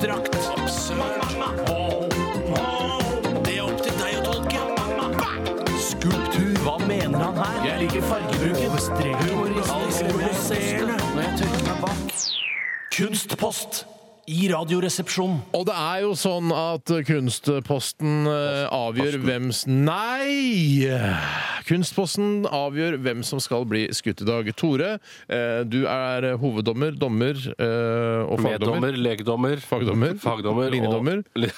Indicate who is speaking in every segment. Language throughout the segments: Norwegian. Speaker 1: drakt. Det er opp til deg å tolke. Skulptur, hva mener han her? Jeg liker fargebruken. Humoristisk, provoserende. Når jeg tørker meg bak. Kunstpost i Radioresepsjonen.
Speaker 2: Og det er jo sånn at Kunstposten eh, avgjør hvem s- Nei! Kunstposten avgjør hvem som skal bli skutt i dag. Tore, eh, du er hoveddommer, dommer eh, og fagdommer.
Speaker 3: Meddommer, legdommer,
Speaker 2: Fagdommer.
Speaker 3: fagdommer og-
Speaker 2: Linjedommer.
Speaker 3: Li-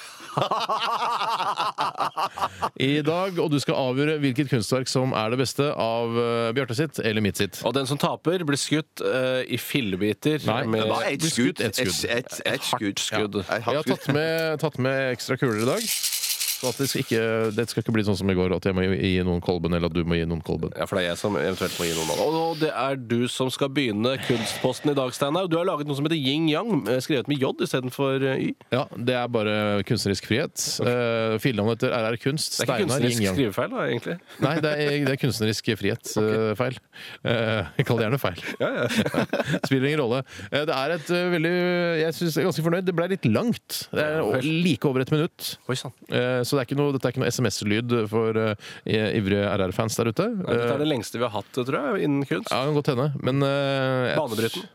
Speaker 2: I dag, og du skal avgjøre hvilket kunstverk som er det beste av eh, Bjarte sitt eller mitt sitt.
Speaker 3: Og den som taper, blir skutt eh, i fillebiter
Speaker 2: Nei.
Speaker 3: med
Speaker 2: Hva
Speaker 4: Bare ett
Speaker 2: blir
Speaker 4: skudd.
Speaker 2: skutt ett skudd.
Speaker 4: Et, et, et
Speaker 3: hardt
Speaker 4: skudd.
Speaker 3: skudd.
Speaker 4: Ja, et
Speaker 2: Jeg
Speaker 4: hardt
Speaker 2: har
Speaker 4: skudd.
Speaker 2: tatt med, tatt med ekstra kuler i dag. Så at det, skal ikke, det skal ikke bli sånn som i går, at jeg må gi gi noen kolben, eller at du må gi noen kolben.
Speaker 3: Ja, for det er jeg som eventuelt må gi noen av det. Og det er du som skal begynne Kunstposten i dag, Steinar. Du har laget noe som heter Yin Yang, eh, skrevet med J istedenfor eh, Y.
Speaker 2: Ja, det er bare kunstnerisk frihet. Eh, Okay. Fillenavnet heter RR Kunst.
Speaker 3: Det er ikke
Speaker 2: Steinar
Speaker 3: kunstnerisk
Speaker 2: Yin-Yang.
Speaker 3: skrivefeil, da, egentlig.
Speaker 2: Nei, det er, det er kunstnerisk frihetsfeil. Eh, Jeg kaller det gjerne feil. Spiller ingen rolle. Eh, Det er et eh, veldig Jeg synes jeg er ganske fornøyd. Det ble litt langt. Det er o- like over et minutt.
Speaker 3: Oi sann.
Speaker 2: Eh, Så det er ikke noe, dette er ikke noe SMS-lyd for eh, ivrige RR-fans der ute.
Speaker 3: Nei, Dette er
Speaker 2: Eh,
Speaker 3: det lengste vi har hatt, tror jeg, innen kunst.
Speaker 2: Ja, det kan godt hende. Men eh, jeg-
Speaker 3: Banebrytende.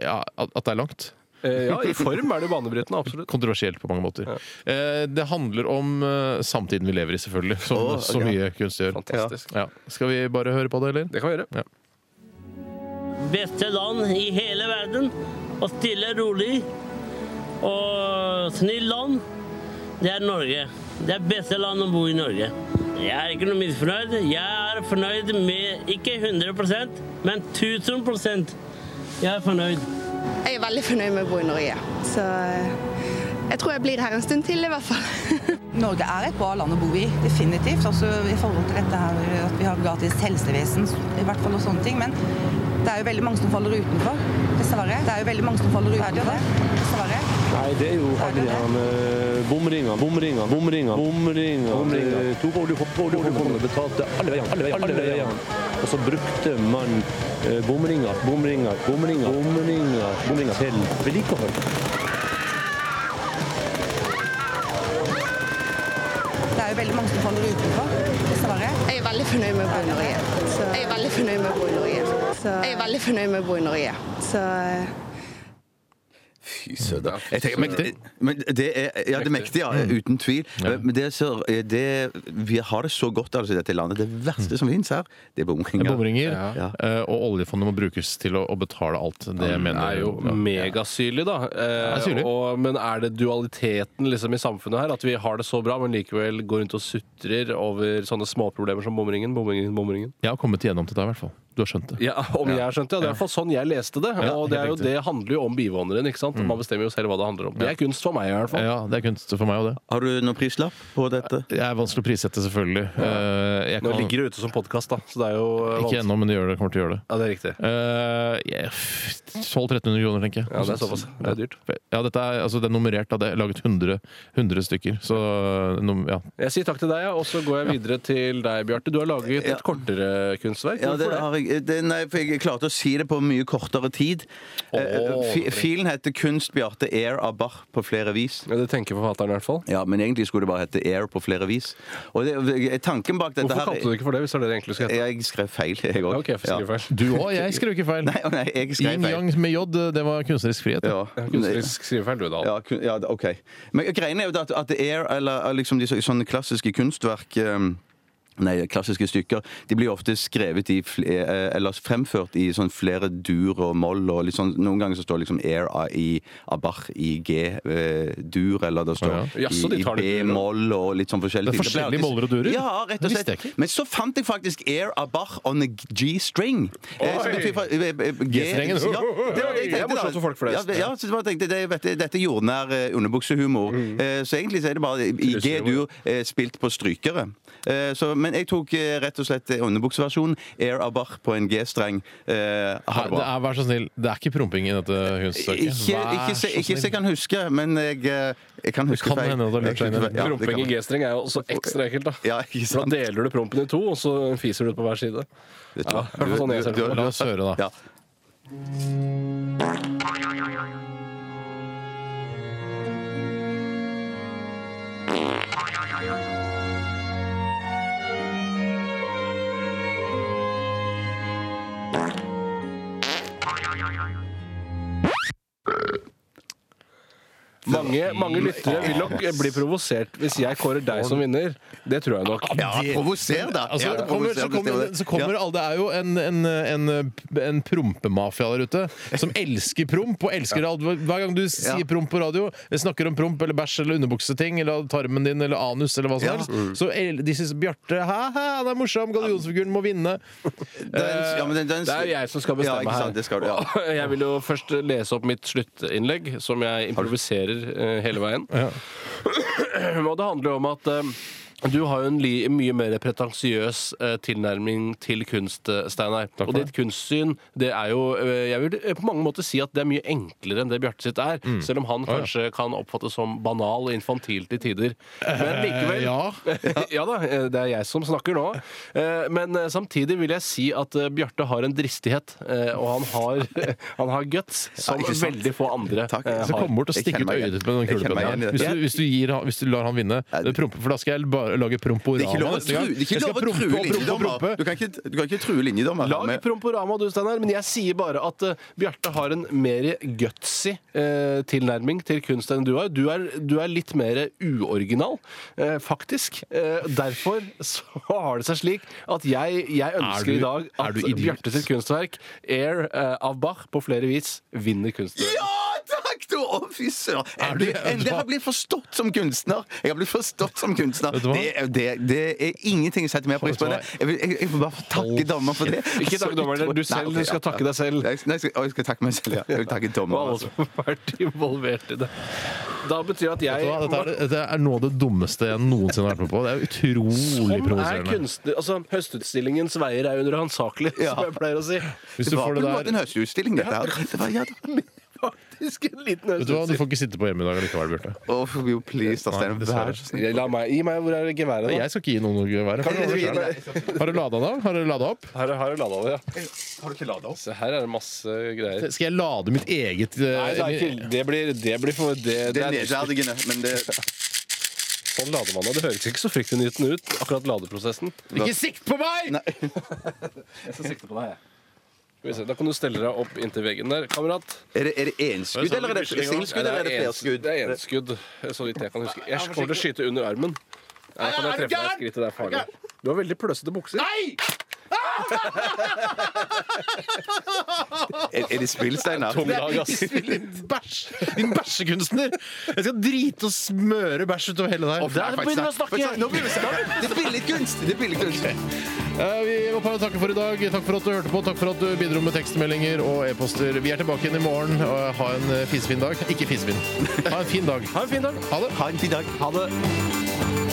Speaker 2: Ja, at at det er langt.
Speaker 3: Eh, Ja, i form er det banebrytende, absolutt.
Speaker 2: Kontroversielt på mange måter. Eh, Det handler om eh, samtiden vi lever i, selvfølgelig. Som
Speaker 4: Å,
Speaker 2: så
Speaker 4: ja.
Speaker 2: mye kunst gjør.
Speaker 3: Fantastisk.
Speaker 2: Ja. Skal vi bare høre på det, eller?
Speaker 3: Det kan vi gjøre.
Speaker 2: Ja.
Speaker 5: beste land i hele verden. Og stille, rolig og snill land, det er Norge. Det er beste land å bo i Norge. Jeg er ikke noe misfornøyd. Jeg er fornøyd med ikke 100 men 1000 Jeg er fornøyd.
Speaker 6: Jeg er veldig fornøyd med å bo i Norge. Så eh, jeg tror jeg blir her en stund til, i hvert fall.
Speaker 7: Norge er et bra land å bo i, definitivt. Også i forhold til dette her at vi har gratis helsevesen, i hvert fall og sånne ting. Men det er jo veldig mange som faller utenfor, dessverre. Det er jo veldig mange som faller utenfor, dessverre.
Speaker 8: Nei, det er jo alle de her eh, bomringene, bomringene, bomringene, bomringene. Eh, To går du på, går du på, går du betalte alle veiene, alle veiene, alle veiene. Og så brukte man eh, bomringer, bomringer, bomringer, bomringer, bomringer til vedlikehold.
Speaker 7: Det er jo veldig mange som faller utenfor, dessverre.
Speaker 6: Jeg er veldig fornøyd med å bo i Norge. Så jeg er veldig fornøyd med å bo i Norge. Så jeg er veldig fornøyd med å bo i Norge. Så
Speaker 7: eh,
Speaker 4: Fy søder. Jeg tenker, men,
Speaker 2: Mektig.
Speaker 4: men det er, ja, det er mektig, ja. Uten tvil. Men det, så, det, vi har det så godt altså, i dette landet. Det verste som finnes her, det er bomringer.
Speaker 2: Bomringer.
Speaker 4: Ja.
Speaker 2: eh, Og oljefondet må brukes til å, å betale alt. Det
Speaker 3: Den
Speaker 2: mener
Speaker 3: er jo
Speaker 2: ja.
Speaker 3: megasyrlig, da. Eh,
Speaker 2: er syrlig.
Speaker 3: og, men er det dualiteten liksom, i samfunnet her? At vi har det så bra, men likevel går rundt og sutrer over sånne småproblemer som bomringen, bomringen, bomringen?
Speaker 2: Jeg har kommet igjennom til deg, i hvert fall. Du har skjønt det.
Speaker 3: Ja, om jeg har skjønt det. ja. Det er i hvert fall sånn jeg leste det.
Speaker 2: Ja,
Speaker 3: og det, er jo,
Speaker 2: helt riktig.
Speaker 3: det handler jo om bivåneren, ikke sant? Man bestemmer jo selv hva det handler om. Det er kunst for meg, i hvert fall.
Speaker 2: Ja, det er kunst for meg òg, det.
Speaker 4: Har du noen prislapp på dette?
Speaker 2: Det er vanskelig å prissette, selvfølgelig. Eh, Jeg
Speaker 3: Nå
Speaker 2: kan,
Speaker 3: ligger det ute som podkast, da, så det er jo eh,
Speaker 2: ikke
Speaker 3: vanskelig.
Speaker 2: ennå, men det gjør det. Kommer til å gjøre det.
Speaker 3: Ja, det er riktig.
Speaker 2: Eh, jeg- 1200-1300 kroner, tenker jeg.
Speaker 3: Ja, det er såpass. Det er dyrt.
Speaker 2: Ja, dette er, altså, det er nummerert. Da. Det er laget 100, 100 stykker. Så eh, num, ja.
Speaker 3: Jeg sier takk til deg, ja, og så går jeg videre til deg, Bjarte. Du har laget
Speaker 4: Ja.
Speaker 3: et kortere kunstverk.
Speaker 4: Ja, det
Speaker 3: Hvorfor
Speaker 4: har jeg, det, nei, for jeg klarte å si det på mye kortere tid.
Speaker 3: Åh.
Speaker 4: Eh, fi- Filen heter 'Kunst Bjarte Air av Bach på flere vis'.
Speaker 3: Ja, det tenker forfatteren, i hvert fall.
Speaker 4: Ja, Men egentlig skulle det bare hete Air på flere vis. Og det, tanken bak dette
Speaker 3: Hvorfor
Speaker 4: her
Speaker 3: kalte du det ikke for det, hvis det er det det egentlig skal hete?
Speaker 4: Jeg skrev feil, jeg òg.
Speaker 3: Ja, ok, jeg får skrive feil.
Speaker 2: Du òg, jeg skrev ikke feil.
Speaker 4: Nei, å nei, jeg skrev feil.
Speaker 2: Yin-yang med J, det var kunstnerisk frihet. det.
Speaker 4: Ja.
Speaker 3: Kunstnerisk skrivefeil, du, da.
Speaker 4: Ja, kun, ja, OK. Men greien er jo at, at Air, eller liksom de så- sånne klassiske kunstverk eh, Nei, klassiske stykker. De blir ofte skrevet i fle- eh, Eller fremført i sånn flere dur og moll og litt sånn Noen ganger så står liksom Air a- i Abach i G-dur, eller det står
Speaker 2: Å,
Speaker 3: ja. Jaså, de
Speaker 4: i, i
Speaker 3: tar det i dur, da.
Speaker 4: B-moll og litt sånn forskjellige
Speaker 2: Det er
Speaker 4: ting. blir
Speaker 2: forskjellige
Speaker 4: alltid-
Speaker 2: moller og durer?
Speaker 4: Ja, rett
Speaker 2: Det
Speaker 4: og
Speaker 2: visste jeg
Speaker 4: slett.
Speaker 2: ikke.
Speaker 4: Men så fant jeg faktisk Air Abach on a G-string. Eh, som betyr for- eh, eh, G-
Speaker 2: G-strengen.
Speaker 4: Ja, det var det jeg
Speaker 3: Det er
Speaker 4: tenkte. da.
Speaker 3: morsomt for folk flest.
Speaker 4: Ja, det- ja, så jeg bare tenkte, det, vet, du, dette er jordnær eh, underbuksehumor. Eh, så egentlig så er det bare i G-dur eh, spilt på strykere. Eh, så, men jeg tok eh, rett og slett eh, underbukseversjonen. Air Abach på en G-streng. Eh, ha det
Speaker 2: Nei, det
Speaker 4: bra.
Speaker 2: er, vær så snill, det er ikke promping i dette kunststykket.
Speaker 4: Ikke, ikke, se- ikke så jeg kan huske, men jeg, eh, jeg kan huske
Speaker 2: kan
Speaker 4: feil.
Speaker 2: hende at du har lurt
Speaker 4: Jeg kan
Speaker 2: deg inn i
Speaker 4: huske feil. Ja, det
Speaker 3: Promping i
Speaker 4: kan-
Speaker 3: G-streng er jo også ekstra ekkelt, da.
Speaker 4: Ja, ikke
Speaker 3: For
Speaker 4: sant.
Speaker 3: Da deler du prompen i to, og så fiser du ut på hver side.
Speaker 4: Vet du
Speaker 3: Ja,
Speaker 4: hva?
Speaker 3: i hvert fall sånn jeg ser det.
Speaker 2: La oss høre, da.
Speaker 4: Ja.
Speaker 9: Thank
Speaker 3: Mange, mange lyttere vil nok bli provosert hvis jeg kårer deg som vinner. Det tror jeg nok.
Speaker 4: Ja, provoser, da!
Speaker 2: Altså,
Speaker 4: Ja,
Speaker 2: det kommer, så
Speaker 4: provoser,
Speaker 2: kommer,
Speaker 4: bestemmer
Speaker 2: så kommer
Speaker 4: Ja.
Speaker 2: alle, Det er jo en, en, en, en prompemafia der ute som elsker promp. og elsker alt. Hver gang du sier
Speaker 4: Ja.
Speaker 2: promp på radio, snakker om promp eller bæsj eller underbukseting eller tarmen din eller anus eller hva som
Speaker 4: Ja.
Speaker 2: helst, så el- de syns Bjarte hæ, hæ, han er morsom, Galle Jonsfiguren må vinne.
Speaker 4: Det er en- ja, men den- den-
Speaker 3: Det er jo jeg som skal
Speaker 4: Ja,
Speaker 3: bestemme
Speaker 4: ikke sant, det skal du, ja.
Speaker 3: her. Jeg vil jo først lese opp mitt sluttinnlegg, som jeg improviserer eh, hele veien. Og det handler jo om at eh, du har jo en li mye mer pretensiøs eh, tilnærming til kunst, eh, Steinar. Og ditt kunstsyn, det er jo eh, Jeg vil eh, på mange måter si at det er mye enklere enn det Bjarte sitt er.
Speaker 2: Mm.
Speaker 3: Selv om han kanskje kan oppfattes som banal og infantil til tider. Men likevel
Speaker 2: Eh, ja.
Speaker 3: ja da, eh, det er jeg som snakker nå. Eh, Men eh, samtidig vil jeg si at eh, Bjarte har en dristighet, eh, og han har, han har guts som
Speaker 4: Ja, ikke sant?
Speaker 3: veldig få andre
Speaker 4: Takk.
Speaker 3: eh,
Speaker 2: Så
Speaker 3: har.
Speaker 2: kom bort og
Speaker 4: Jeg
Speaker 2: stikk
Speaker 4: kjenner
Speaker 2: ut
Speaker 4: meg
Speaker 2: øyet
Speaker 4: igjen.
Speaker 2: ditt med den
Speaker 4: Jeg kjenner meg
Speaker 2: kulepennen.
Speaker 4: igjen i
Speaker 2: ja.
Speaker 4: det.
Speaker 2: Hvis, du- hvis, du gir han- hvis du lar han vinne,
Speaker 4: Nei, det-
Speaker 2: prompe, for da skal jeg bare lage promporama.
Speaker 4: Det er ikke lov å
Speaker 2: neste gang.
Speaker 4: true, det er ikke
Speaker 2: Jeg skal
Speaker 4: lov å true
Speaker 2: prompe og prompe og
Speaker 4: linjedommer.
Speaker 2: prompe.
Speaker 4: Du kan ikke, du kan ikke true linjedommer.
Speaker 3: Lag
Speaker 4: Men-
Speaker 3: et promporama, du, Steinar, men jeg sier bare at eh, Bjarte har en mer gutsy eh, tilnærming til kunst enn du har. Du er, du er litt mer uoriginal, eh, faktisk. Eh, derfor så har det seg slik at jeg, jeg ønsker
Speaker 2: du-
Speaker 3: i dag
Speaker 2: er
Speaker 3: at
Speaker 2: du idiot?
Speaker 3: Bjarte sitt kunstverk, 'Air' eh, av Bach, på flere vis vinner kunstverket.
Speaker 4: Ja, takk, du! Å, fy søren!
Speaker 2: Er du-
Speaker 4: Endelig endelig har jeg blitt forstått som kunstner! Jeg har blitt forstått som kunstner.
Speaker 2: Vet du hva?
Speaker 4: Det, er- det, det er ingenting jeg setter mer pris på enn det. Jeg, vil- jeg, jeg får bare takke dommer for det.
Speaker 3: Ikke takk dommeren, du
Speaker 4: Nei,
Speaker 3: selv.
Speaker 4: ok,
Speaker 3: Du skal
Speaker 4: ja,
Speaker 3: takke deg
Speaker 4: ja.
Speaker 3: selv.
Speaker 4: Jeg, nei, jeg, skal, å, jeg skal takke meg selv, ja. Jeg vil takke
Speaker 3: Og
Speaker 4: dommeren.
Speaker 3: alle som
Speaker 4: Altså.
Speaker 3: har vært involvert i det. Da betyr det at jeg
Speaker 2: Vet du hva, Dette er, dette er noe av det dummeste jeg noensinne har vært med på. Det er utrolig
Speaker 3: Sånn er
Speaker 2: provoserende.
Speaker 3: kunstner... Altså, høstutstillingens veier er underhansakelige,
Speaker 4: Ja.
Speaker 3: som jeg pleier å si.
Speaker 2: Hvis du
Speaker 4: Det var
Speaker 2: får
Speaker 4: på
Speaker 2: det
Speaker 4: en måte en
Speaker 2: der
Speaker 4: høstutstilling, dette her. Det var, ja, det
Speaker 3: Faktisk en liten
Speaker 2: Vet du hva, du
Speaker 3: høstutstilling.
Speaker 2: får ikke sitte på hjemme i dag likevel, Bjarte.
Speaker 4: var, å, jo, please, da, Stein.
Speaker 2: Nei, dessverre.
Speaker 4: Vær så snill.
Speaker 3: La meg, gi meg hvor er geværet, da?
Speaker 2: Jeg skal ikke gi noen noe gevær.
Speaker 3: Kan du-
Speaker 2: Har du lada den av? Har du lada opp?
Speaker 3: Her har jeg lada det, ja. Har du ikke lada opp? Se, her er det masse greier.
Speaker 2: Skal jeg lade mitt eget eh,
Speaker 3: Nei, det, er ikke, det blir Det blir for Det,
Speaker 4: Det
Speaker 3: det
Speaker 4: er
Speaker 3: er
Speaker 4: nedverdigende, men det
Speaker 3: sånn lader man, og det høres ikke så fryktelig nytende ut, akkurat ladeprosessen.
Speaker 2: Ikke sikt på meg!
Speaker 3: Jeg skal sikte på deg, jeg. Skal vi se, Da kan du stelle deg opp inntil veggen der, kamerat.
Speaker 4: Er det, er det sånn enskudd, eller er det singleskudd, eller er det
Speaker 3: ens- eh,
Speaker 4: flerskudd?
Speaker 3: Det er enskudd, så vidt jeg kan huske. Jeg kommer til å skyte under armen. Nei, kan jeg treffe deg i skrittet. Det er farlig. Du har veldig pløsete bukser.
Speaker 4: Er, er det spill, Steinar?
Speaker 3: Tom dag, ass.
Speaker 2: Bæsj! Din bæsjekunstner! Jeg skal drite og smøre bæsj utover hele deg.
Speaker 4: Der begynner vi å snakke! Nå begynner vi å snakke. Det er billedkunst! Det er billedkunst.
Speaker 2: Eh, Vi må bare takke for i dag. Takk for at du hørte på. Takk for at du bidro med tekstmeldinger og e-poster. Vi er tilbake igjen i morgen. og Ha en eh, fisefin dag. Ikke fisefin. Ha en fin dag.
Speaker 3: Ha en fin dag.
Speaker 2: Ha det.
Speaker 4: Ha en fin dag.
Speaker 3: Ha det.